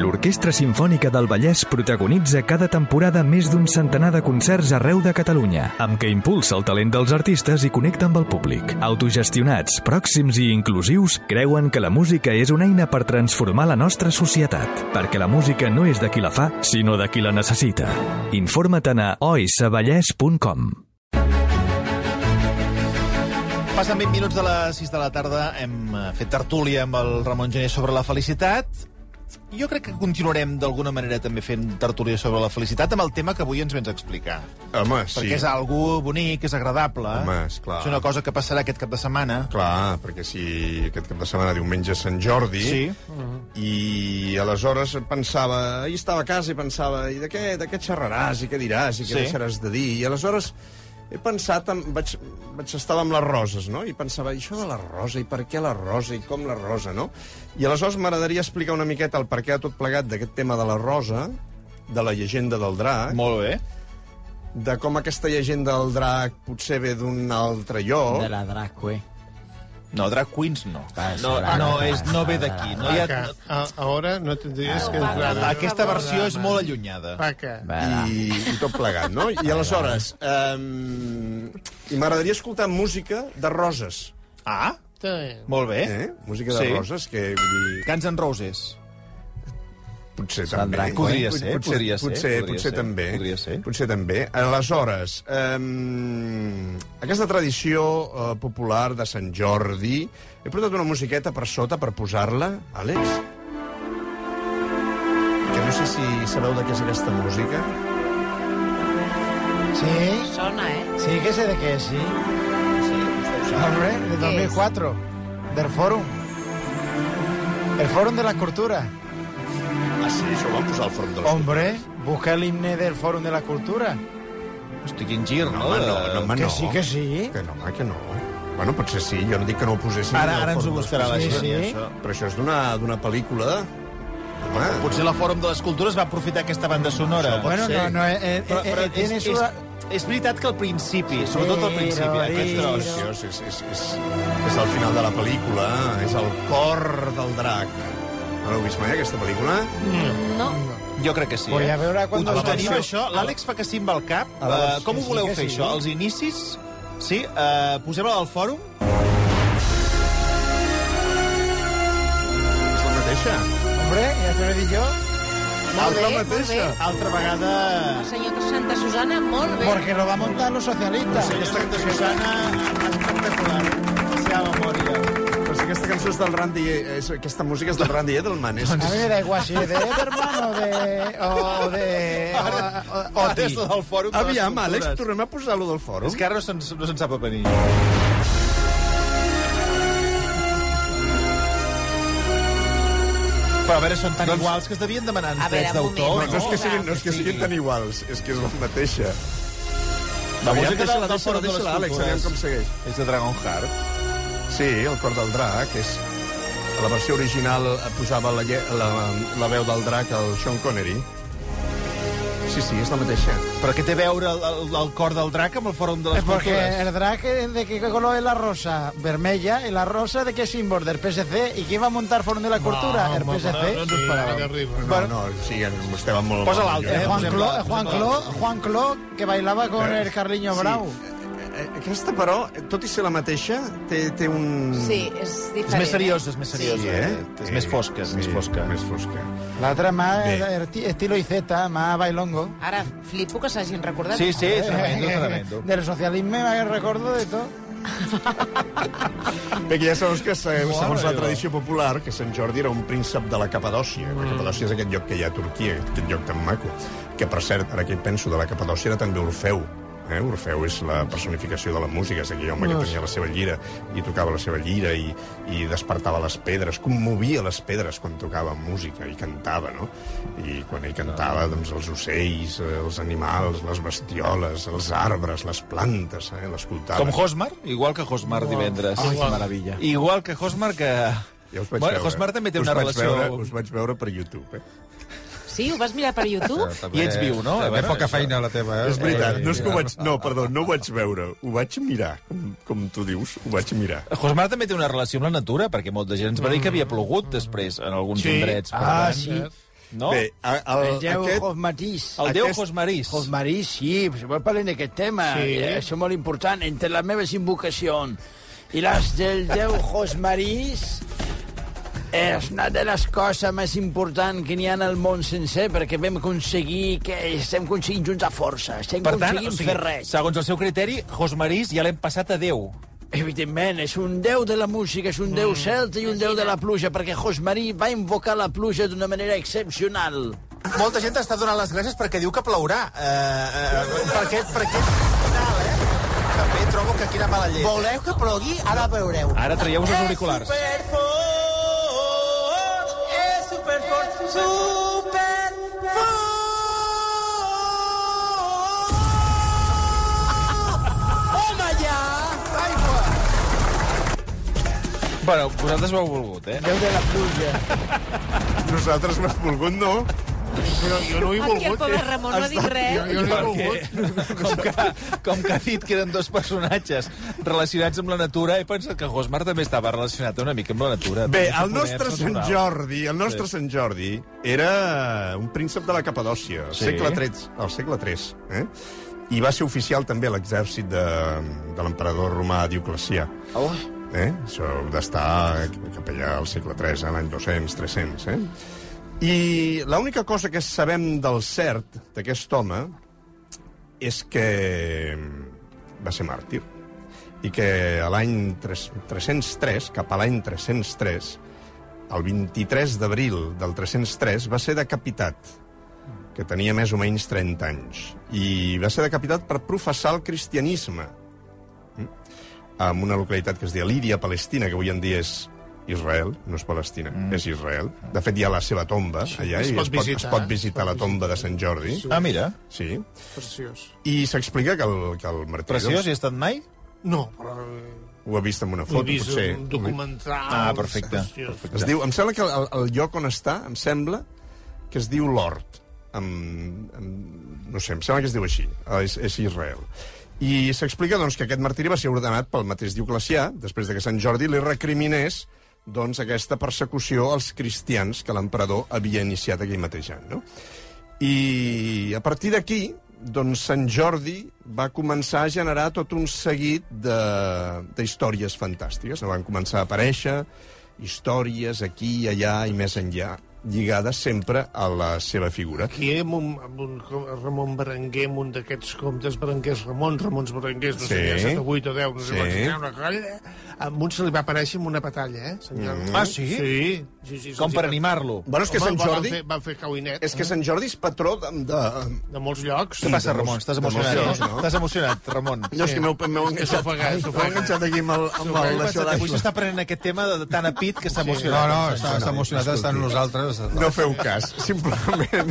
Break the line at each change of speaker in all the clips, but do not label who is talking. L'Orquestra Simfònica del Vallès protagonitza cada temporada més d'un centenar de concerts arreu de Catalunya, amb què impulsa el talent dels artistes i connecta amb el públic. Autogestionats, pròxims i inclusius, creuen que la música és una eina per transformar la nostra societat, perquè la música no és de qui la fa, sinó de qui la necessita. Informa't a oisavallès.com.
Passen 20 minuts de les 6 de la tarda, hem eh, fet tertúlia amb el Ramon Gené sobre la felicitat. Jo crec que continuarem d'alguna manera també fent tertúlia sobre la felicitat amb el tema que avui ens vens a explicar.
Home, sí.
Perquè és algú bonic, és agradable.
Home, esclar.
És una cosa que passarà aquest cap de setmana.
Clar, perquè si aquest cap de setmana diumenge és Sant Jordi,
Sí.
i aleshores pensava, ahir estava a casa i pensava, i de què, de què xerraràs, i què diràs, i què
Sí.
sí. deixaràs de dir, i aleshores he pensat, en, vaig, vaig estar amb les roses, no? I pensava, i això de la rosa, i per què la rosa, i com la rosa, no? I aleshores m'agradaria explicar una miqueta el perquè de tot plegat d'aquest tema de la rosa, de la llegenda del drac,
Molt bé.
de com aquesta llegenda del drac potser ve d'un altre lloc.
De la Dracue.
No, drag queens no.
Ah,
Passa,
No,
drag,
no,
passa,
és, no ve d'aquí. No hi ha...
Vaca. A, ahora no tendrías que entrar.
Ah, Clar, Aquesta versió és molt allunyada.
Vaca.
Verà.
i, i tot plegat, no? I aleshores, um, i m'agradaria escoltar música de roses,
Ah,
Está bien.
molt bé.
eh? Música de
Sí.
roses, que vull dir,
Guns N' Roses.
potser
Sandra,
també.
podria
Pot-
ser,
potser,
podria ser,
Potser,
podria
potser
ser,
també.
podria ser.
Potser també. Aleshores, um, aquesta tradició uh, popular de Sant Jordi, he portat una musiqueta per sota per posar-la, Àlex? Que no sé si sabeu de què és aquesta música.
Sí,
Sona, eh?
sí que sé de què és, sí. Hombre, de
és?
2004, del Fòrum. El Fòrum de la Cultura.
Ah, sí, això ho van posar al front del
Hombre, busca el himne del Fòrum de la Cultura.
Hosti, quin gir, Ah, no?
No, home, no, no, home,
que
no.
sí, que sí.
Que no, home, que no. Bueno, potser sí, jo no dic que no ho posessin.
Ara, ara ens ho
Però-
buscarà la
Sí,
gent,
sí.
això.
Però això és d'una d'una pel·lícula... Home,
Potser la Fòrum de les Cultures va aprofitar aquesta banda sonora.
Això pot
Bueno,
ser.
no, no, eh, eh, eh, eh, tienes
és,
una...
és veritat que al principi, sobretot al principi,
Però,
aquest
però-
tros...
preciós, és, és, és, és el final de la pel·lícula, és el cor del drac. No l'heu vist mai, aquesta pel·lícula?
No.
Jo crec que sí,
Voy a
eh?
veure quan...
Ho, ho teniu, això? L'Àlex fa que sí amb el cap.
A la-
Eh, com ho
sí,
voleu
que
fer,
sí.
això? Els inicis? Sí? Eh, Posem-la al fòrum?
És la mateixa. Ah,
Hombre, ja t'ho he dit jo.
Molt
és la
bé, molt bé.
mateixa.
Altra vegada...
Senyor Santa Susana, molt bé.
Porque lo va a montar los socialistas.
Aquesta Santa Susana, espectacular. Especial memòria.
Però si aquesta cançó és del Randy... És, aquesta música és del Randy Edelman. És,
A mí me da igual si es de Ederman o de... o de... o- o- o-
Ara és la del fòrum de les
Aviam, Àlex,
Cultures.
tornem a posar-lo del fòrum.
És que ara no se'n no se'n sap a venir. Però a veure, són tan doncs... iguals que es devien demanar uns
A veure,
drets
un
d'autor,
No, no és que siguin, no és que
Sí.
siguin tan iguals, és que és la mateixa.
La música
Aviam,
del, eh?
deixa-la,
del Fòrum de les
deixa-la, Àlex,
Cultures
aviam com segueix.
és de Dragon Heart.
Sí, el cor del drac, és... A la versió original eh, posava la, lle- la, la veu del drac al Sean Connery. Sí, sí, és la mateixa.
Però què té a veure el, el, el cor del drac amb el Fòrum de
Eh,
les
Porque
Cultures?
el drag es de qué color es la rosa vermella y la rosa de qué símbolo del PSC y quién va a montar Fórum de la Cultura el
Vamos,
PSC
Ah, no, no ens ho
Sí.
esperàvem.
No, no, sí, vostè va molt...
Posa
molt
l'altre,
millor.
eh,
Eh, Juan
posem
Clo,
la-
Juan Clo, Juan Clo que bailaba con
Eh,
el Carliño Brau
Eh, eh, Aquesta, però, tot i ser la mateixa, té, té un...
Sí, és diferent.
És més seriosa, és més seriosa.
Sí, eh?
És més fosca, és
sí,
més fosca.
Més fosca.
la otra más
Bé.
eh, esti- estilo IZ más bailongo Eh,
Eh? Ara flipo que s'hagin recordat.
Sí, sí, tremendo, tremendo.
del socialismo me recuerdo de todo
Bé, que ja sabeu que se- segons la tradició popular, que Sant Jordi era un príncep de la Capadòcia. La Capadòcia és aquest lloc que hi ha a Turquia, aquest lloc tan maco. Que, per cert, ara que hi penso, de la Capadòcia era també Orfeu. Eh? Orfeu és la personificació de la música, és aquell home que tenia la seva llira i tocava la seva llira i, i despertava les pedres, commovia les pedres quan tocava música i cantava, no? I quan ell cantava, doncs, els ocells, eh, els animals, les bestioles, els arbres, les plantes, eh? l'escoltava.
Com Hosmar, igual que Hosmar divendres.
Ai, que meravella.
Igual que Hosmar, que...
Ah, Ja us vaig
bueno,
veure.
Hosmar també té
us
una
vaig
relació...
Veure, us vaig veure per YouTube, eh?
Sí, ho vas mirar per YouTube?
I ets viu, no?
També
Bueno,
poca
això.
feina, la teva, eh?
És veritat, no és que ho vaig... No, perdó, no ho vaig veure. Ho vaig mirar, com, com tu dius, ho vaig mirar.
Josmar també té una relació amb la natura, perquè molta gent ens va dir que havia plogut després en alguns
Sí.
indrets. per
Ah,
eh,
tant.
sí.
No?
Bé, a, el,
El Déu aquest...
aquest...
Hofmatís.
El déu
aquest-
Josmarís.
Hofmarís, sí, però parlem d'aquest tema.
Sí.
Eh, Això és molt important. Entre les meves invocacions i les del Déu Hofmarís, és una de les coses més importants que n'hi ha al món sencer, perquè vam aconseguir que estem aconseguint junts a força, estem
Per tant,
aconseguint
o
fer
sigui,
res.
segons el seu criteri, Josmarís ja l'hem passat a Déu.
Evidentment, és un déu de la música, és un
Mm.
déu celta i un déu de la pluja, perquè Josmarí va invocar la pluja d'una manera excepcional.
Molta gent està donant les gràcies perquè diu que plourà. Eh, eh, per aquest, per aquest final, eh? També trobo que quina mala llet.
Voleu que plogui? Ara veureu.
Ara traieu-vos els auriculars.
Superfort, és superfort, superfort. Home, ja! Aigua!
Bueno, vosaltres ho heu volgut, eh?
Déu de la pluja.
Nosaltres no hem volgut, no?
Jo, jo no ho he
Aquí el
volgut. eh.
pobre Ramon no ha dit
Jo,
res.
jo no he volgut.
Perquè, com que, com que ha dit que eren dos personatges relacionats amb la natura, he pensat que Josmar també estava relacionat una mica amb la natura.
Bé,
Tots
el nostre
japonesos,
Sant
total.
Jordi, el nostre Sant Jordi era un príncep de la Capadòcia, al
Sí.
segle III, al segle III, eh? I va ser oficial també a l'exèrcit de, de l'emperador romà Dioclecià. Oh. Eh? Això heu d'estar cap allà al segle III, a l'any 200, 300, eh? I l'única cosa que sabem del cert d'aquest home és que va ser màrtir i que a l'any tres- 303, cap a l'any 303, el 23 d'abril del 303, va ser decapitat, que tenia més o menys 30 anys. I va ser decapitat per professar el cristianisme mm? en una localitat que es deia Lídia, Palestina, que avui en dia és Israel, no és Palestina, mm. és Israel. De fet, hi ha la seva tomba allà,
es
i
pot
es pot, es
visitar, eh?
pot
es
visitar la tomba de Sant Jordi.
Ah, mira,
Sí.
Preciós.
I s'explica que el, que el martiri
preciós,
eh?
hi he estat mai?
No, però... eh,
ho ha vist en una
He
foto,
vist
potser.
un documental...
Ah, perfecte.
preciós.
Es diu, em sembla que el, el lloc on està, em sembla que es diu l'Hort. Em, em, no sé, em sembla que es diu així. Ah, És, és Israel. I s'explica doncs, que aquest martiri va ser ordenat pel mateix Dioclecià, després de que Sant Jordi li recriminés doncs, aquesta persecució als cristians que l'emperador havia iniciat aquell mateix any. No? I a partir d'aquí, doncs Sant Jordi va començar a generar tot un seguit de, de històries fantàstiques. Van començar a aparèixer històries aquí, allà i més enllà, lligades sempre a la seva figura.
Aquí amb un, amb un com- Ramon Berenguer, amb un d'aquests comptes Berenguers Ramon, Ramons Berenguers, no sé,
Sí.
sí. 7 o 8 o 10, no sé,
Sí.
sí. una colla. A un se li va aparèixer amb una batalla, eh, senyor?
Ah, sí?
Sí. sí, sí
Com per animar-lo.
Bueno, és que Sant Jordi...
Van fer, van fer cauinet
És que Sant Jordi és patró de... de...
de molts llocs.
Què passa, Ramon? Estàs emocionat,
D'emocions,
no?
no?
Estàs emocionat, Ramon.
No, és que m'heu m'heu
Que s'ho
enganxat,
ofega, s'ho
m'heu
ofega.
enganxat aquí amb el...
Què
Amb el això
passa? Avui
d'aigua.
s'està prenent aquest tema de tan a pit que s'ha
No,
emocionat.
no, està, està emocionat, està amb nosaltres.
No feu cas, simplement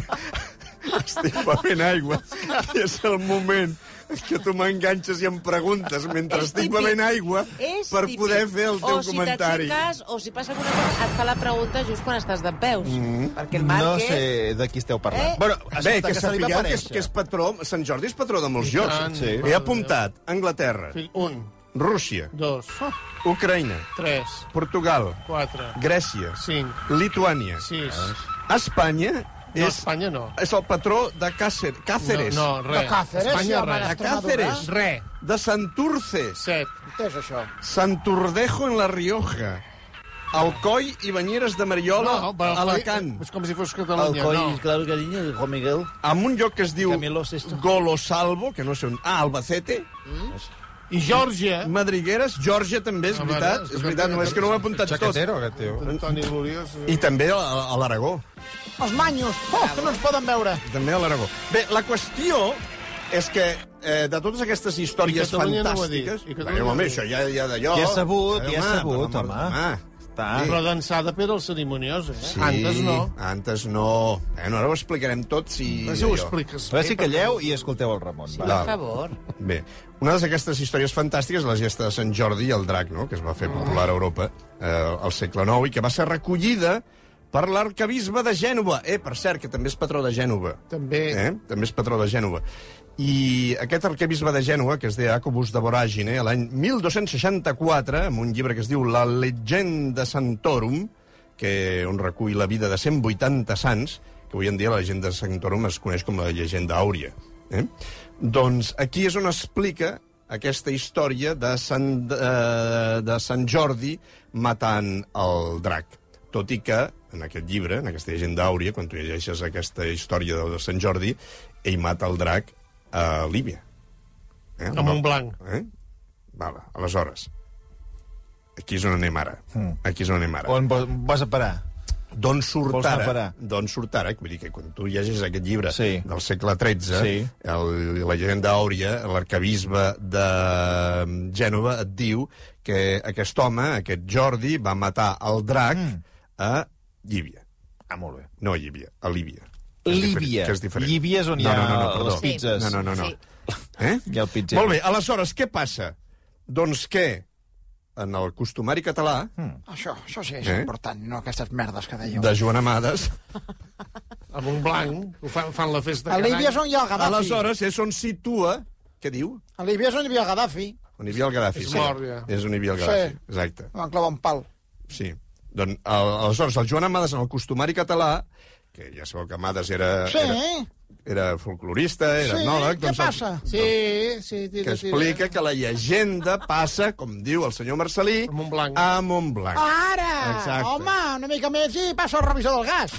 estic bevent aigua i és el moment en què tu m'enganxes i em preguntes mentre
És
estic
típic.
bevent aigua
És
per
típic.
poder fer el teu
o si
comentari.
t'aixeques, o si passa alguna cosa, et fa la pregunta just quan estàs de peus. Mm. Perquè el
No
Márquez...
sé de qui esteu parlant.
Eh?
Bueno,
Bé,
escolta, se
que
li va
sapigueu que és,
aparèixer.
que és patró... Sant Jordi és patró de molts
I
llocs.
tant,
Sí.
mare
He
de
apuntat Anglaterra,
Fill- Un,
Rússia,
dos,
Ucraïna,
tres,
Portugal,
quatre,
Grècia,
cinc,
Lituània.
sis...
Espanya
No,
és,
Espanya no.
és el patró de Càcer, Càceres,
No, no, res.
De Cáceres,
Espanya,
sí, home,
res.
de Càceres,
Res.
de Santurces,
Set.
Què és això?
Santurdejo en la Rioja. Alcoi i Banyeres de Mariola,
No,
a
però-
Alacant.
És com si fos Catalunya, no.
claro, cariño, dijo Miguel.
Amb un lloc que es diu
Camilo Sesto.
Golosalvo, que no sé on... Ah, Albacete,
I Geòrgia...
Madrigueres, Georgia també, és
Ah,
veritat.
vale.
És veritat, només que no ho he apuntat tot.
Xaquetero, aquest tio.
Antoni Gloriós... eh.
I també a, a l'Aragó.
Els manyos, oh, que no ens poden veure.
També a l'Aragó. Bé, la qüestió és que eh, de totes aquestes històries
I Catalunya no ho ha dit.
fantàstiques...
I Catalunya
Bé,
no ho ha
home,
dit.
això ja, ja d'allò...
Ja és sabut, ja és
home,
sabut,
per la mort
home.
de mà.
Està.
Però d'ençada per al cerimoniós, eh?
Sí,
Antes no.
Antes no. Bueno, ara ho explicarem tot si...
Però si ho
allò.
expliques
A veure si calleu i escolteu el Ramon. Va.
Per favor. Bé, una d'aquestes històries fantàstiques és la gesta de Sant Jordi i el drac, no?, que es va fer popular a Europa eh, al segle IX i que va ser recollida per l'arcabisbe de Gènova. Eh, per cert, que també és patró de Gènova.
També.
Eh? També és patró de Gènova. I aquest arquebisbe de Gènova, que es deia Jacobus de Voràgine, a l'any 1264, amb un llibre que es diu La Legenda Santorum, que, on recull la vida de 180 sants, que avui en dia la llegenda de Sant Torom es coneix com la llegenda àurea. Eh? Doncs aquí és on explica aquesta història de Sant, eh, de Sant Jordi matant el drac. Tot i que, en aquest llibre, en aquesta llegenda àurea, quan tu llegeixes aquesta història de Sant Jordi, ell mata el drac a Líbia. Eh?
Amb un blanc.
Eh? Vale, aleshores, aquí és on anem ara.
Hmm.
Aquí és on anem ara.
On vo- vas a parar?
D'on surt
Vols anar a
ara?
parar?
D'on surt ara? Vull dir que quan tu llegeixes aquest llibre
Sí.
del segle XIII,
Sí.
el, la llegenda àurea, l'arcabisbe de Gènova et diu que aquest home, aquest Jordi, va matar el drac
Hmm.
mm. a Llívia.
Ah, molt bé.
No a Llívia, a Líbia. Que és diferent-
Líbia.
Que és diferent.
Líbia és on hi
no,
ha
no, no, no, perdó.
les pizzas.
No, no, no. no.
Sí.
Eh?
Hi ha el pitger.
Molt bé, aleshores, què passa? Doncs que en el costumari català,
Hmm.
Això, això sí és
Eh?
important, no aquestes merdes que dèieu.
de Joan Amades,
Amb un blanc. Ho fan, fan la festa
A
cada
Líbia és
any.
on hi ha el Gaddafi.
Aleshores, és on situa... Què diu?
A Líbia és on hi havia el Gaddafi.
On hi havia el Gaddafi.
És mort, ja.
És on hi havia el
Sí.
Gaddafi, exacte.
Van clavar un pal.
Sí. Doncs, al- aleshores, el Joan Amades, en el costumari català, que ja sabeu que Amades era...
Sí,
Era,
eh?
era folclorista, era
Sí,
etnòleg... doncs
què passa?
Sí.
Sí, sí, eh? tira,
Que explica que la llegenda passa, com diu el senyor Marcelí,
A Montblanc.
a Montblanc.
Ara!
Exacte.
Home, una mica més i passo al revisor del gas.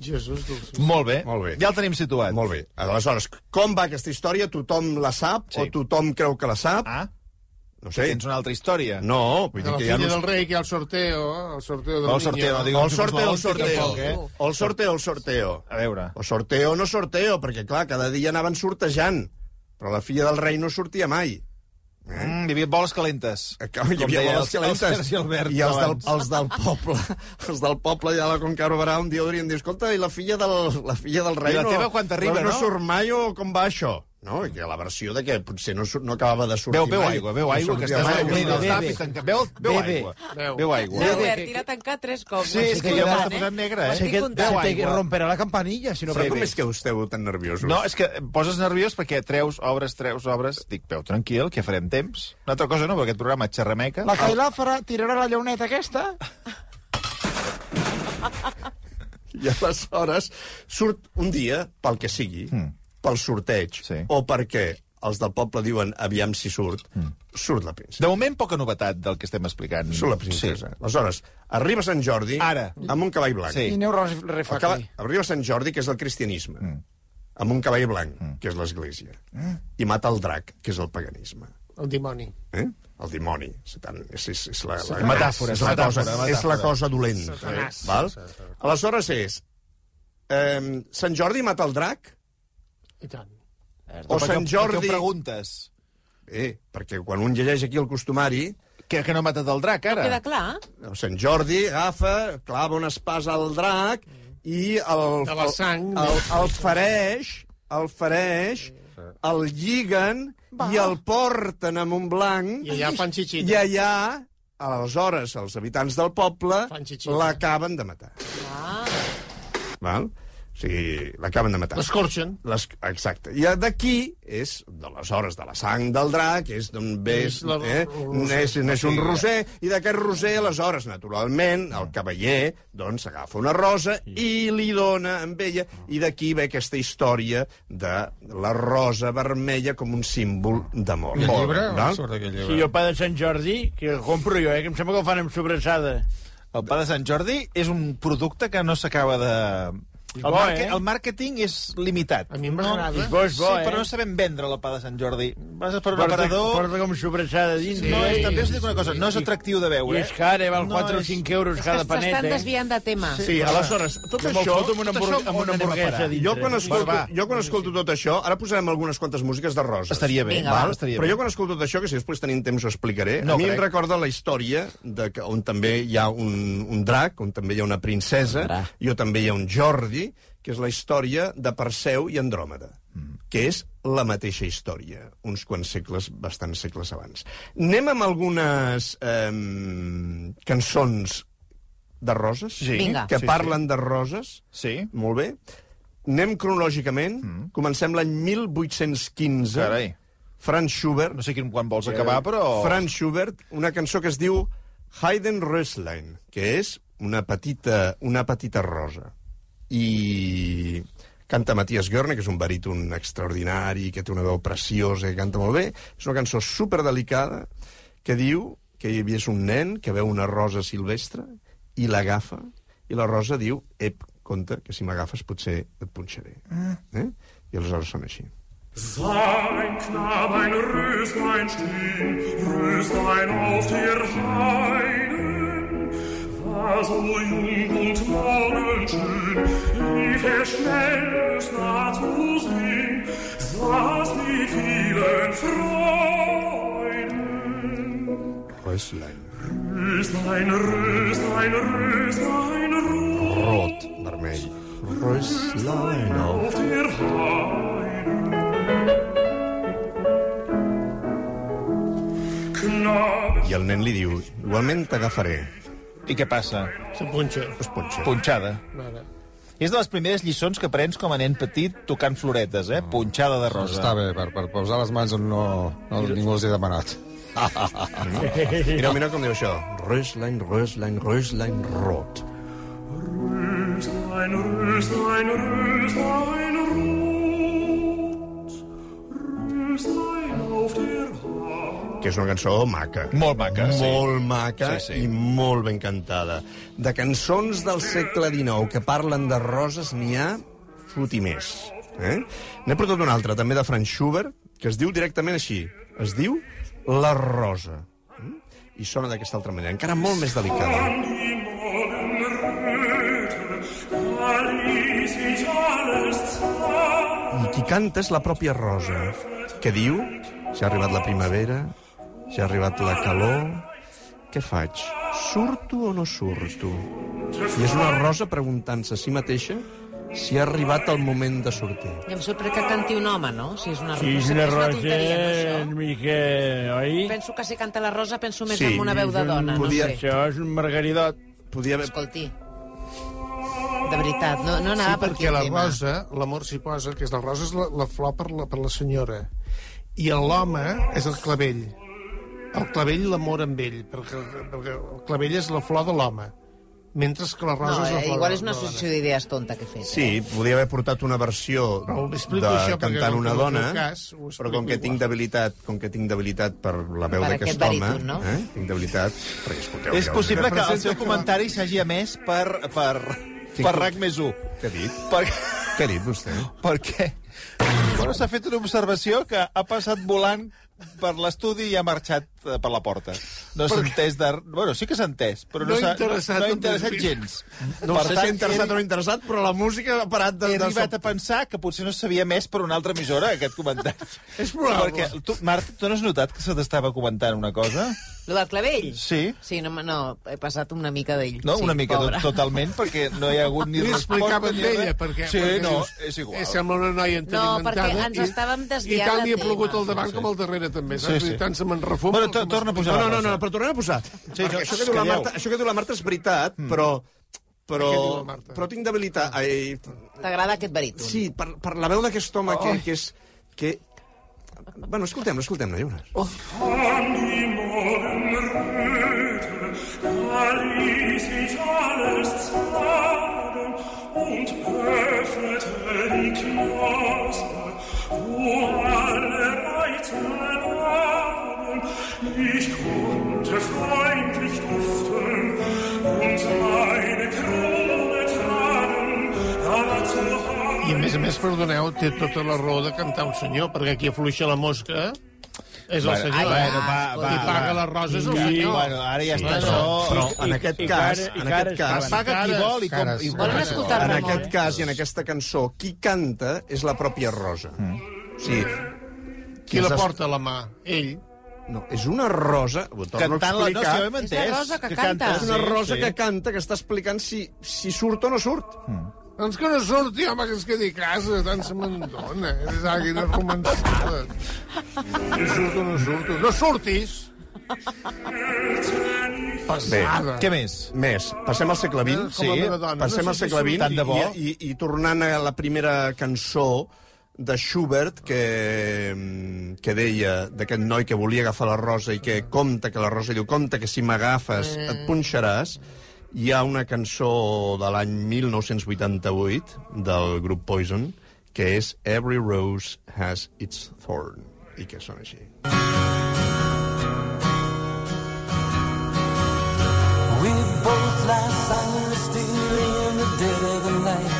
Jesús, dolços.
Molt bé.
Molt bé.
Ja el tenim
Ah.
situat.
Molt bé. Aleshores, com va aquesta història? Tothom la sap
Sí.
o tothom creu que la sap?
Ah,
no sé.
tens una altra història.
No, vull
De
dir
la
que hi ha...
filla
uns-
del rei, que hi ha el sorteo, eh? el sorteo del
No, el sorteo,
niño.
no digueu
O el
que us
sorteo, el
volen ficar
sorteo.
poc, eh?
O el sorteo, el sorteo.
A veure.
O sorteo, no sorteo, perquè, clar, cada dia anaven sortejant. Però la filla del rei no sortia mai.
Mm, hi havia boles calentes.
Eh, clar, Hi
Com
havia
deia
boles
el- el
calentes.
Sergi Albert
I els del,
abans.
els del poble, els del poble allà a la Conca Barberà un dia haurien de dir, escolta, i la filla del, la filla del rei
I la
no,
teva quan t'arriba,
no?
no?"
surt mai o com va això? No, i que la versió de que potser no, surt, no acabava de sortir
Veu, veu
mai.
aigua, veu
No
aigua, que
sortia
estàs
mai,
obrint
no
el
sortia
tap i tanca... Veu, veu
Bebe.
aigua.
Veu.
Veu aigua.
L'ha obert i l'ha tancat tres cops.
Sí, és que ja m'està posant negre, eh?
Ho estic
Veu
comptant.
aigua.
la campanilla, si no...
Però com és que esteu tan nerviosos?
No, és que em poses nerviós perquè treus obres, treus obres... Dic, veu, tranquil, que farem temps. Una altra cosa no, perquè aquest programa xerrameca.
La
Ah.
Cailà farà, tirarà la llauneta aquesta.
I aleshores surt un dia, pel que sigui, mm. pel sorteig,
Hmm. Sí.
o perquè els del poble diuen aviam si surt,
Hmm.
mm. surt la princesa.
De moment, poca novetat del que estem explicant.
Surt la princesa. Sí. Aleshores, arriba Sant Jordi
Ara.
amb un cavall blanc.
Sí.
I aneu
El
a
cava...
refactor.
Arriba Sant Jordi, que és el cristianisme, mm. amb un cavall blanc, mm. que és l'església, mm. i mata el drac, que és el paganisme.
El dimoni.
Eh? El dimoni. Satan, és, és, és la, la,
Metàfora,
és la,
metàfora,
cosa,
metàfora.
és la cosa dolenta. Eh?
Satanàs.
Val? Aleshores és... Eh, Sant Jordi mata el drac?
I tant.
O Sant
Per què
Jordi...
ho preguntes?
Eh, perquè quan un llegeix aquí el costumari,
Que, que no ha matat el drac, ara?
Queda clar?
el Sant Jordi agafa, clava una espasa al drac i el,
De la sang.
el, el fereix, el fereix, el lliguen Va. i el porten a Montblanc
I allà fan xixita.
i allà, aleshores, els habitants del poble
Fan xixita.
l'acaben de matar. Val? O sigui, l'acaben de matar.
L'escorxen.
Les, exacte. I d'aquí és, d'aleshores, de la sang del drac, és d'on ve...
Neix la-
eh?
el
neix, neix un roser, i d'aquest roser, aleshores, naturalment, el cavaller, doncs, agafa una rosa i li dona amb ella, i d'aquí ve aquesta història de la rosa vermella com un símbol d'amor.
Aquell llibre?
Val?
On surt aquell llibre?
Si jo pa de Sant Jordi, que el compro jo, eh, que em sembla que el fan amb sobrassada.
El pa de Sant Jordi és un producte que no s'acaba de... El,
bo,
marque-
eh?
el màrqueting és limitat.
A mi m'agrada.
És bo, és bo,
sí, però no
eh?
sabem vendre la pa de Sant Jordi. Vas per un
Porta,
aparador...
porta com sobrassada dins. eh?
No, és, també us dic una cosa, no és atractiu de
I
veure.
és car, eh? Val
No
4 o
és-
5 euros
És que
cada panet,
s'estan
eh?
desviant de tema.
Sí, aleshores, tot
Que me'l
això...
foto amb una,
tot això
hamburg
on
amb una
anem a
hamburguesa
parar?
a dintre.
Jo quan, escolto,
Va, va.
jo quan escolto tot això, ara posarem algunes quantes músiques de roses.
Estaria bé,
Vinga,
val?
va.
Estaria
Però
bé.
jo quan escolto tot això, que si després tenim temps ho explicaré,
No
a mi
crec.
em recorda la història de que, on també hi ha un, un drac, on també hi ha una princesa, i on també hi ha un Jordi, que és la història de Perseu i Andròmeda,
Mm.
que és la mateixa història, uns quants segles, bastants segles abans. Anem amb algunes eh, cançons de roses,
Sí.
Vinga.
que
Sí, sí.
parlen de roses,
Sí.
molt bé. Anem cronològicament. Mm. Comencem l'any 1815.
Carai.
Franz Schubert.
No sé quin quan
Eh,
vols acabar, però...
Franz Schubert, una cançó que es diu Hayden Röslein, que és una petita, una petita rosa. i canta Matías Görne, que és un baríton extraordinari, que té una veu preciosa, que canta molt bé. És una cançó superdelicada que diu que hi havia un nen que veu una rosa silvestre i l'agafa, i la rosa diu, ep, compte, que si m'agafes potser et punxaré. Eh? I aleshores sona així.
Sein Knabein, Röslein stehn, Röslein auf der Heiden, war so jung und morgenschön, lief er schnell bis nah zu sehn, saß mit vielen Freunden.
Röslein.
Röslein, Röslein, Röslein, rot
Rot, vermell. Röslein auf
auf der Heiden. Knabe
I el nen li diu, igualment t'agafaré.
I què passa?
Se punxa.
Es pot ser.
Punxada.
Ara.
És de les primeres lliçons que aprens com a nen petit tocant floretes,
Oh.
eh? Punxada de rosa.
Està bé, per, per posar les mans on no, no ningú els hi ha demanat.
Mira, mira com diu això. Röslein, Röslein, Röslein, rot.
Röslein, Röslein, Röslein, rot. Röslein auf der Hand.
Que és una cançó maca.
Molt maca, sí.
Molt maca
Sí,
sí,
sí.
sí. i molt ben cantada. De cançons del segle XIX que parlen de roses n'hi ha fot i més. Eh? N'he portat una altra, també de Franz Schubert, que es diu directament així. Es diu La Rosa. Mm? I sona d'aquesta altra manera, encara molt més delicada.
An die Morgenröte, da ließ ich alles zart.
I qui canta és la pròpia Rosa, que diu... Ja ha arribat la primavera, ja ha arribat la calor... Què faig? Surto o no surto? I és una rosa preguntant-se a si mateixa si ha arribat el moment de sortir.
I em sorprèn que canti un home, no? Si és una,
Sí, és
no sé,
una
és
rosa
tonteria, no,
una
això?
mica... Oi?
Penso que si canta la Rosa penso més
Sí,
en una veu de dona, no
podia-
sé.
Això és un margaridot.
Podia haver...
Escolti, de veritat, no, no anava
sí,
per aquí
perquè
el
la
tema.
rosa, l'amor s'hi posa, que és la rosa és la, la flor per la, per la senyora. I l'home és el clavell. El clavell, l'amor amb ell, perquè, perquè el clavell és la flor de l'home. Mentre que la rosa
No,
és la
eh,
flor
igual
de-
és una
de la dona.
associació d'idees tonta que he fet. eh.
Sí, podia haver portat una versió
Però ho
de
explico això, perquè
cantant
com que
una
no
dona,
feu cas, ho
però com
explico
que tinc
igual.
debilitat, com que tinc debilitat per la veu
Per
d'aquest
aquest
home,
baríton, no?
eh? tinc debilitat, perquè escolteu... eh?
És
ja,
possible que el
Representa
seu
que-
comentari s'hagi emès per, per, per RAC més 1.
Què ha dit?
Per,
Què ha dit vostè?
perquè bueno, s'ha fet una observació que ha passat volant per l'estudi i ha marxat eh, per la porta. No s'ha entès de... Bueno, sí que s'ha entès, però no,
No
s'ha
interessat,
no ha
no
interessat
té-
gens.
No sé si ha interessat
he,
o no interessat, però la música ha parat de...
he
de
arribat a pensar que potser no s'havia més per una altra emissora, aquest comentari.
És probable.
Perquè, tu, Marta, tu no has notat que se t'estava comentant una cosa?
Lo del clavell?
Sí.
Sí, no, no he passat una mica d'ell.
No,
sí,
una mica
pobre.
to totalment, perquè no hi ha hagut ni
Li explicava
resposta ni
eh?
amb ella,
res.
perquè...
Sí,
perquè
no,
dius,
és igual.
eh, Sembla una noia entenimentada.
perquè ens
i-
estàvem desviant
I
de
tant li ha
tema.
plogut al davant com al darrere, també, saps?
Sí, sí.
I tant se me'n refuma.
Bueno,
com
to-
es-
torna a posar
No,
la
no, no,
rosa.
no, però tornem a posar.
Sí,
Perquè
no,
això, que Mm. diu la
calleu.
Marta, això que diu la Marta és veritat, però... Però,
Què diu la Marta?
però tinc debilitat. Ai,
T'agrada aquest baríton?
sí, per, per la veu d'aquest home que, que és... Que... Bueno, escoltem-lo, escoltem-lo, ja ho
Oh,
veuràs.
An die Morgenröte, da ließ ich alles zagen und öffnete die Knospe, wo alle Reize lagen. Ich konnte freundlich duften und meine Krone tragen, aber zur
I a
Hand
més a més, perdoneu, té tota la raó de cantar un senyor, perquè qui afluixa la mosca és el senyor.
ai,
bueno, va, va,
Qui paga
va.
les roses és el
Sí,
senyor.
bueno, ara ja està
Bueno,
això...
Però
I-
en
i-
aquest
i
cas,
cara- i
en
cara
aquest cas,
estaven.
Paga qui
Cares,
vol i com...
cares.
I
Volen escoltar
en
Ramon?
aquest cas i en aquesta cançó, qui canta és la pròpia Rosa. O sigui,
Qui la porta a la mà? Ell.
No, és una rosa... Ho torno a
Cantant-la, no, si
explicar.
ho hem entès.
És la rosa que canta.
És una rosa que canta, que està explicant si, si surt o no surt.
Doncs que no surti, home, que es quedi a casa, tant se me'n dona. eh? És alguna romançada. I surto o no surto? No surtis! Passada.
Què més?
Més. Passem al segle XX.
Eh, Com la meva dona.
Passem
No
al
sé si
segle
tant de bo.
XX i, i, i tornant a la primera cançó de Schubert que, que deia d'aquest noi que
Eh.
volia agafar la rosa i que compta que la rosa diu compta que si m'agafes et punxaràs Hi ha una cançó de l'any 1988 del grup Poison que és Every Rose Has Its Thorn, i que sona així.
We both lie silently in the dead of the night.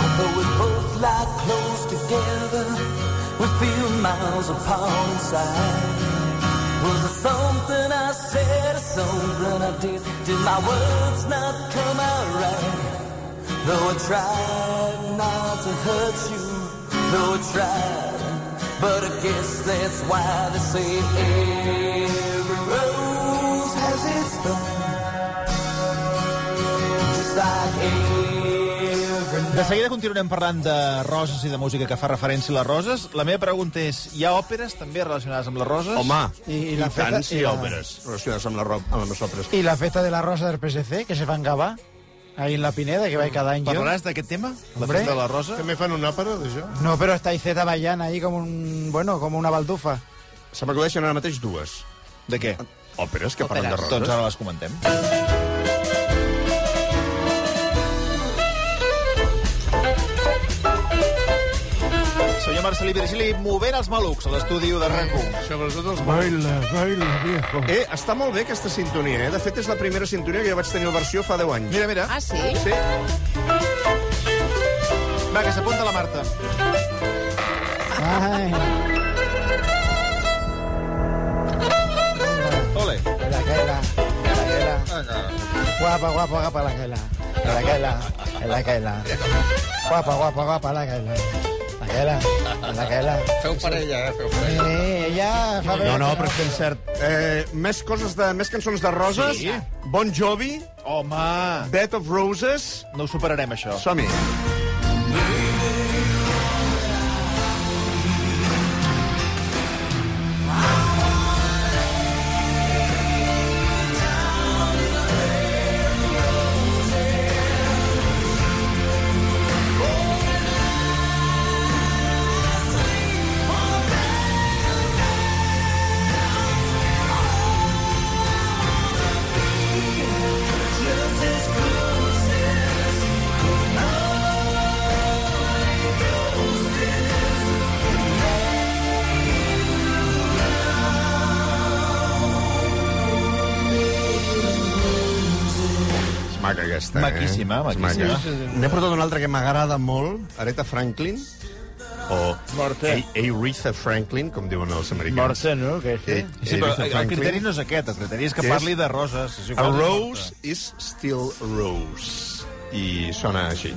Although we both lie close together, we feel miles apart inside. Was it something I said or something I did? Did my words not come out right? Though I tried not to hurt you, though I tried, but I guess that's why they say every rose has its thorn. Just like every
De seguida continuarem parlant de roses i de música que fa referència a les roses. La meva pregunta és, hi ha òperes també relacionades amb les roses?
Home,
I- i
i,
la
i
feta-
tant si
i
hi ha
la-
òperes relacionades amb, la, ro- amb les òperes.
I la festa de la rosa del PSC, que se fa en Gavà, ahí en la Pineda, que vaig cada any jo.
Parlaràs d'aquest tema? La
Hombre.
festa de la rosa?
També fan una òpera d'això?
No, però està Iceta ballant ahí com un... Bueno, com una baldufa.
Se m'acudeixen ara mateix dues
De què?
òperes que parlen de
Òperes.
roses.
Doncs ara les comentem. Senyor Marcelí Virgili, movent els malucs a l'estudi de RAC1.
Sobretot els Baila, baila, viejo.
Eh, està molt bé aquesta sintonia, eh? De fet, és la primera sintonia que jo vaig tenir a versió fa 10 anys.
Mira, mira.
Ah, sí?
Sí.
Va, que s'apunta la Marta.
Ai,
Ole.
la Gaela, la Gaela. Guapa, guapa, guapa, la Gaela. La Gaela, la Gaela. Guapa, guapa, guapa, la Gaela. La Gaela, la Gaela.
Feu parella, eh? Feu
Sí, ella fa bé...
No, no, però és que és cert. Eh, més, coses de, més cançons de roses.
Sí.
Bon Jovi,
Home,
Bed of Roses.
no ho superarem, això.
Som-hi. És maca aquesta, eh?
Maquíssima,
És
maquíssima.
maca. N'he portat una altra que m'agrada molt, Aretha Franklin, o
Morte.
A- Aretha Franklin, com diuen els americans.
Morte, no? Que sí.
Eh,
Sí, però
Aretha
el
Franklin.
criteri no és aquest, el criteri és que
Què és?
parli de roses. És
A
igual, no importa.
rose is still a rose. I sona així.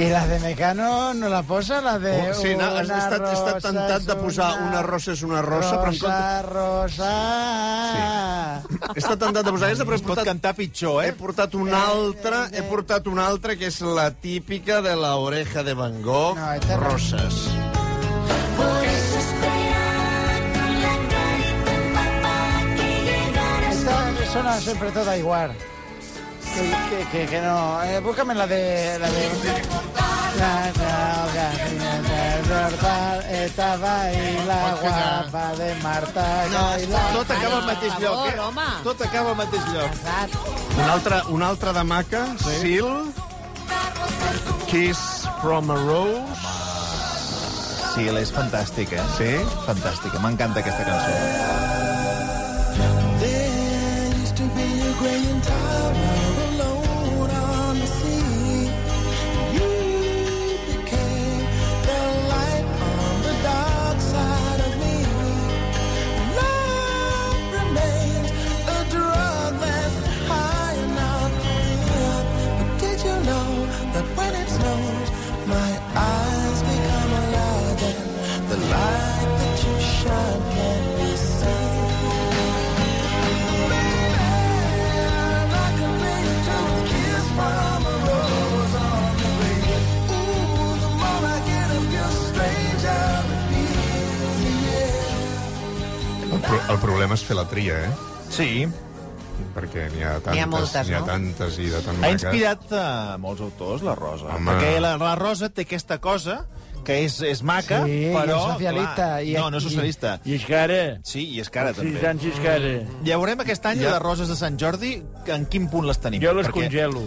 I la de Mecano no la posa, la de...
Oh, sí, no, has
una
estat- he estat
rosa
tentat
és
de posar una rosa és una rosa, però en
Rosa, rosa... Sí.
He estat tentat de posar aquesta, però he
Es pot
portat,
cantar pitjor,
he
eh?
portat una altra, he portat una altra que és la típica de la oreja de Van Gogh,
No, esta no.
roses.
Esta sona sempre tota igual. Que, que, que, que no... Eh, búscame la de... La de... La droga de despertar estaba ahí la guapa de Marta Gaila.
Tot acaba al mateix
Per
lloc,
favor,
eh?
home.
Tot acaba al mateix lloc.
Una altra, una altra de maca, sí. Seal, Kiss from a Rose.
Sí, és fantàstica, eh? Sí? Fantàstica, m'encanta aquesta cançó.
There used to be a grand tower alone on the sea. You became the light on the dark side of me. Love remains a drug that's high and not real. But did you know that when it snows, my eyes become alive and the light that you shine can be seen? Baby,
El, pro el problema és fer la tria, eh?
Sí.
Perquè n'hi ha tantes,
N'hi ha moltes,
n'hi ha
no?
tantes i de tan
Ha
maques.
inspirat a molts autors, la Rosa.
Home.
Perquè la, la Rosa té aquesta cosa que és, és maca,
Sí, i
però...
és socialista,
clar,
i-
no, no és socialista.
I és cara.
Sí, i és cara, també.
Sí, tant si és cara.
Ja veurem aquest any
Ja.
ja. de roses de Sant Jordi en quin punt les tenim.
Jo les congelo.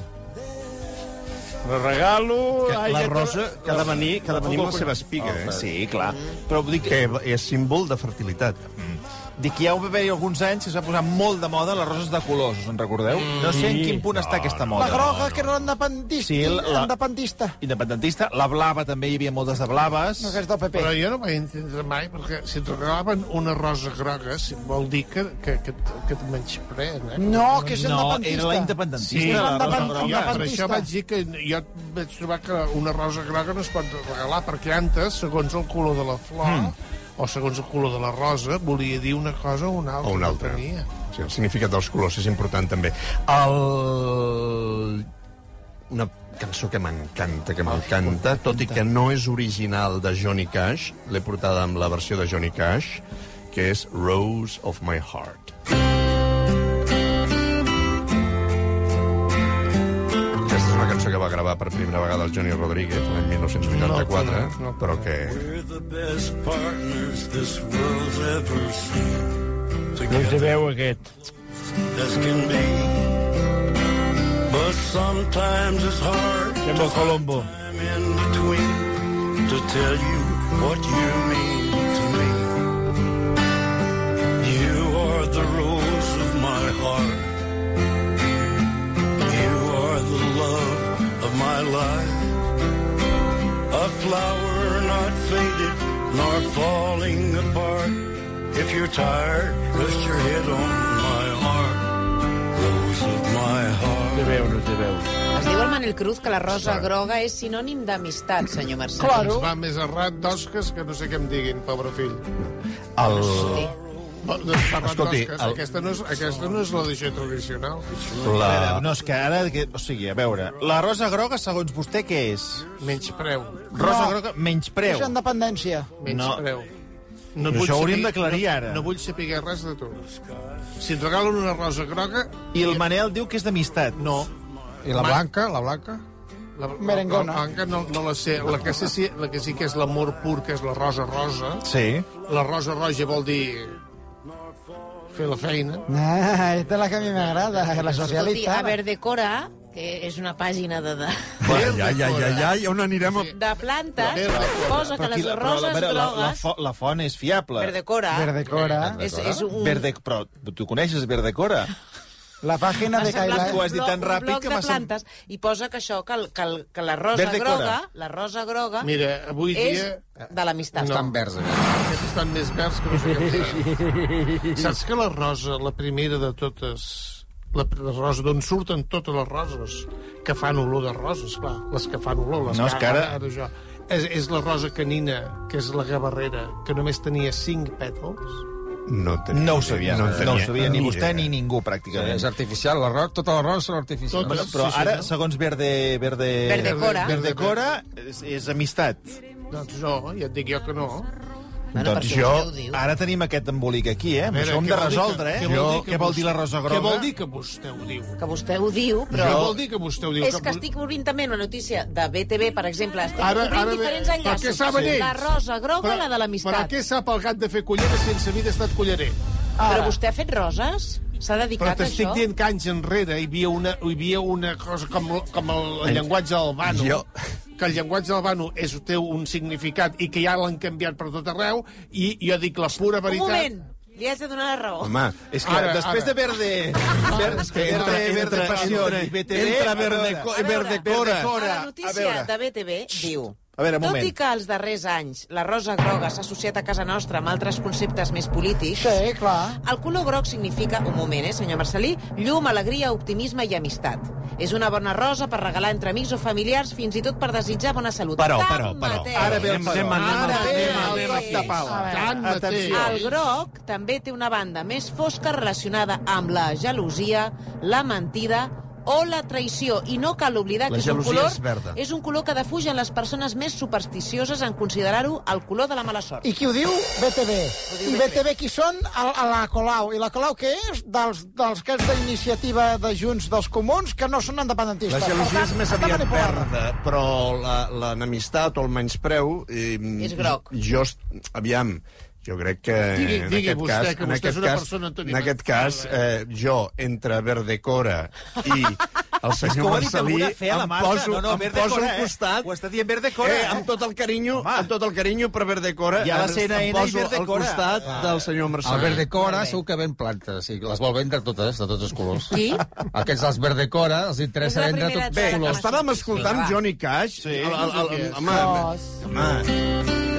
Les regalo...
Que
ai,
la
ja te-
rosa que ha de venir- que ha de venir amb les seves
Pica, eh?
Oh, Sí, clar. Però dic...
Que és símbol de fertilitat.
Mm. Dic, ja ho va haver alguns anys que es va posar molt de moda les roses de colors, us en recordeu? No sé en
Sí.
quin punt està aquesta moda.
La groga, que era independista.
Sí, la-
Independista.
Independentista. La blava, també hi havia moltes de blaves.
No, que és del PP.
Però jo no vaig entendre mai, perquè si et regalaven una rosa groga, si- vol dir que, que, que, et- que et menyspreen, eh?
No, que és
No,
independentista.
era la independentista,
Sí,
la rosa
independentista.
groga.
Jo per això
Independentista.
vaig dir que jo vaig trobar que una rosa groga no es pot regalar, perquè antes, segons el color de la flor,
Hmm.
mm. o segons el color de la rosa, volia dir una cosa o una altra.
O una altra.
que tenia.
Sí, el significat dels colors és important, també. El... Una cançó que m'encanta, que m'encanta, tot i que no és original de Johnny Cash, l'he portada amb la versió de Johnny Cash, que és Rose of My Heart. Aquesta és una cançó que va gravar per primera vegada el Johnny Rodríguez l'any 1984,
No, no, no.
però que...
We're the best partners this world's ever seen.
L'ús de veu aquest.
As can be. But sometimes it's hard
Sembla Colombo.
I'm in between to tell you what you mean to me. You are the rose of my heart. You are the love of my life. A flower not faded nor falling apart. If you're tired, rest your head on my heart. Rose of my heart.
Te veu, no te veu.
Es diu el Manel Cruz que la rosa groga és sinònim d'amistat, senyor Marcel.
Ens va més errat d'osques que no sé què em diguin, pobre fill. doncs,
El...
Escolti,
Escolti, el-
aquesta, no és, aquesta no és la deixa tradicional.
La... No, és que ara... que- O sigui, a veure, la rosa groga, segons vostè, què és?
Menyspreu.
Rosa
No.
groga, menyspreu.
És independència.
Menyspreu.
No.
vull
Això ho hauríem
saber-
d'aclarir ara.
No, no vull saber res de tu. Si et regalen una rosa groga...
I el Manel diu que és d'amistat.
No.
I la blanca, la blanca?
La,
Merengona.
La, la blanca no, no la sé. La que, sí, sí, la que sí que és l'amor pur, que és la rosa rosa.
Sí.
La rosa roja vol dir fer la feina.
Ah, esta és la que a mi m'agrada, la
Escolti,
socialista.
a Verdecora, que és una pàgina de, de,
Ai, ai, ai, ai, ai, on anirem? A...
de plantes, posa que
Però aquí
les
la- però la-
roses
però la, la,
grogues...
fo- la font és fiable.
Verdecora.
Verdecora.
És, és un...
Verde, però tu coneixes Verdecora?
La pàgina
M'ha
de
semblat
Caila...
Tu has dit
un
tan
bloc-
ràpid
un bloc
que
de
m'ha sem-
plantes i posa que això que, el, que, el, que la rosa
Verde cora.
groga, la rosa groga
Mira, avui
és
dia-
de l'amistat.
No.
verds,
Aquests estan més verds que no sé què em diuen. Saps que la rosa, la primera de totes, la, pr- la rosa d'on surten totes les roses, que fan olor de roses, clar, les que fan olor, les
No, és que ara-
ara jo, és, és la rosa canina, que és la gavarrera, que només tenia cinc pètals.
No, tenia,
No ho sabia, no,
en tenia
no ho sabia ni vostè
idea.
ni ningú,
És
pràcticament.
artificial, la rosa, totes les roses són artificials.
Bueno, però
Sí, sí,
ara,
no?
segons Verde... Verde...
Verdecora.
Verdecora és, és amistat.
Doncs no, ja et dic jo que no.
Bueno,
Doncs
perquè
jo-
vostè ho diu.
Ara tenim aquest embolic aquí, eh? Amb
Veure,
Això ho hem
què
de
vol dir
resoldre, eh?
que- què vol dir
Què
que
vol dir la
vostè-
rosa groga?
Què vol dir que vostè ho diu?
Que vostè ho diu, però...
Què vol dir que vostè ho diu?
És que estic obrint també una notícia de BTV, per exemple. Estic ara,
Ara-
obrint
ara ve-
diferents
per
enllaços.
què saben ells?
La rosa groga, la
Però-
de
Per a
l'amistat.
què sap el gat de fer culleres sense haver estat cullerer?
Però vostè ha fet roses? S'ha
Però
dedicat a
t'estic
això?
dient que anys enrere hi havia una, hi havia una cosa com, com el, el llenguatge albano.
Jo-
Que el llenguatge albano és, té un significat i que ja l'han canviat per tot arreu i jo dic la pura
Un
veritat...
moment, li has de donar la raó.
Home,
És que
Ara,
després
ara.
de Verde... Verde, Verde,
entra,
Verde
entra,
Passió
entra,
i BTV...
entra
a veure,
Verde-
A veure,
Verdecora.
A la
A
notícia
veure.
de BTV diu...
A veure, un
Tot i
moment.
que els darrers anys la rosa groga s'ha associat a casa nostra amb altres conceptes més polítics,
Sí, Eh, clar.
el color groc significa, un moment, eh, senyor Marcelí, llum, alegria, optimisme i amistat. És una bona rosa per regalar entre amics o familiars, fins i tot per desitjar bona salut.
Però, però, però,
Tanmateix,
Ara ve el
Anem- anem-
farol.
anem-
Ara ve
anem-
el
anem
cop
aquí.
de pala.
A veure. Tanmateix.
Atenció.
El groc també té una banda més fosca relacionada amb la gelosia, la mentida o la traïció. I no cal oblidar
La
que és un
gelosia
color,
és verda.
és un color que defugen les persones més supersticioses en considerar-ho el color de la mala sort.
I qui ho diu? BTV. I BTV qui són? A, a la Colau. I la Colau què és? Dels, dels que és d'iniciativa de Junts dels Comuns, que no són independentistes.
La
Per
gelosia
tant,
és més
està
aviat
manipulada.
verda, però la- l'enemistat o el menyspreu... Eh,
És groc.
Jo, est- aviam, jo crec que...
Digui-
en
digui
aquest
vostè,
cas,
que
en
vostè
aquest
és una
cas,
persona
En aquest cas, eh, jo, entre Verdecora i el
És que
senyor
ho ha dit amb
Marcelí,
una fe a la
em
Marta.
poso,
No, no,
em
Verde
poso
Cora,
al
eh?
costat...
Ho està dient Verde Cora,
Eh,
eh?
amb tot el carinyo, amb tot el carinyo per Verdecora,
Hi ha la
em-
CNN i
em poso al
Verdecora.
costat del senyor Marcelí.
El verdecora segur que ven plantes, i les vol vendre totes, de tots els colors.
Qui?
Aquests, els verdecora, els interessa vendre tots els
Bé,
colors.
estàvem escoltant
Vinga, va.
Johnny Cash. Sí. El, el, el, el, home, home,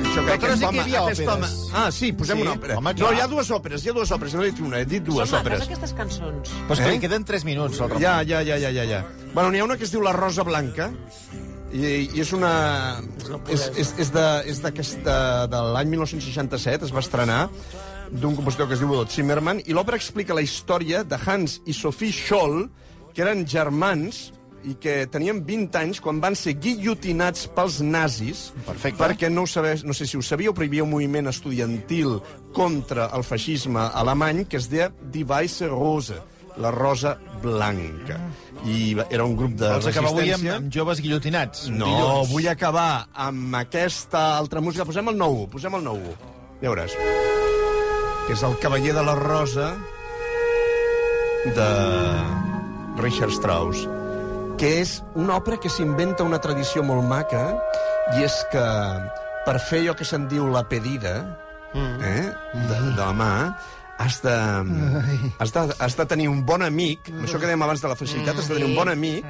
això crec que
Nosaltres
aquest
sí que hi
home,
havia
aquest home...
òperes.
Ah, sí, posem
Sí?
una òpera.
Home,
no,
clar.
hi ha dues òperes, hi ha dues òperes. No he dit una, he dit dues
Són maques,
òperes.
aquestes cançons.
Però és que
Eh?
li queden 3 minuts, al Ramon.
Ja, ja, ja, ja, ja. ja. Bueno, n'hi ha una que es diu La Rosa Blanca, i, i és una... És, és, és de, és d'aquesta... de l'any 1967, es va estrenar, d'un compositor que es diu Udo Zimmerman, i l'òpera explica la història de Hans i Sophie Scholl, que eren germans i que tenien 20 anys quan van ser guillotinats pels nazis Perfecte. perquè no, ho sabés, no sé si ho sabíeu, però hi havia un moviment estudiantil contra el feixisme alemany que es deia Die Weiße Rose, la rosa blanca. I va- era un grup de
Vols acabar Mm. avui amb,
resistència.
amb joves guillotinats?
doncs No,
Dilluns.
vull acabar amb aquesta altra música. Posem el 9-1, posem el 9-1. Ja veuràs. Que és el cavaller de la rosa de Richard Strauss, que és una òpera que s'inventa una tradició molt maca, i és que per fer allò que se'n diu la pedida, eh, de, de la mà, has de, has, de, has de tenir un bon amic, amb això que dèiem abans de la facilitat, has de tenir un bon amic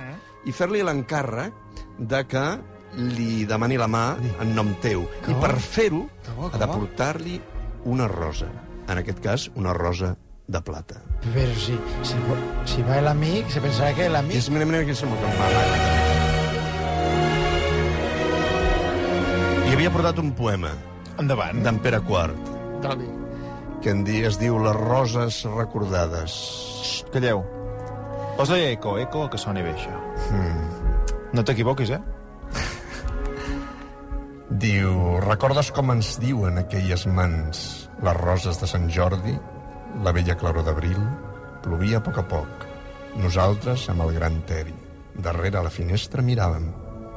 i fer-li l'encàrrec de que li demani la mà en nom teu. I per fer-ho ha de portar-li una rosa. En aquest cas, una rosa de plata.
Però si, si, si va l'amic, se pensarà que l'amic...
És mira, mira que se m'ho Hi havia portat un poema
Endavant.
d'en Pere Quart
Doni.
que en di, es diu Les roses recordades.
Calleu. Posa-li eco, eco, que soni bé, això.
Hmm.
No t'equivoquis, eh?
Diu, recordes com ens diuen aquelles mans les roses de Sant Jordi, la vella claror d'abril? Plovia a poc a poc. Nosaltres, amb el gran teri, darrere la finestra miràvem,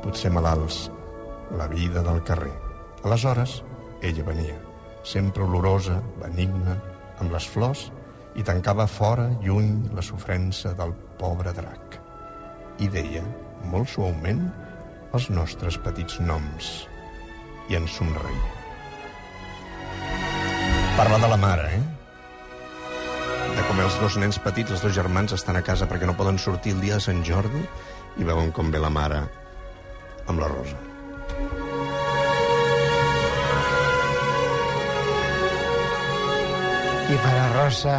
potser malalts, la vida del carrer. Aleshores, ella venia, sempre olorosa, benigna, amb les flors, i tancava fora, lluny, la sofrença del pobre drac. I deia, molt suaument, els nostres petits noms i ens somreia. Parla de la mare, eh? De com els dos nens petits, els dos germans, estan a casa perquè no poden sortir el dia de Sant Jordi i veuen com ve la mare amb la rosa.
I per a Rosa,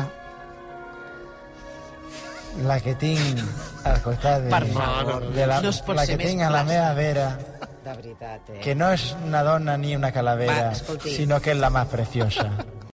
la que tinc al costat de,
Per favor,
de la,
no es pot
la
ser
que
més
tinc a la
plàstic.
meva vera,
De veritat, eh?
que no és una dona ni una calavera,
Va, escolti.
sinó que és la més preciosa.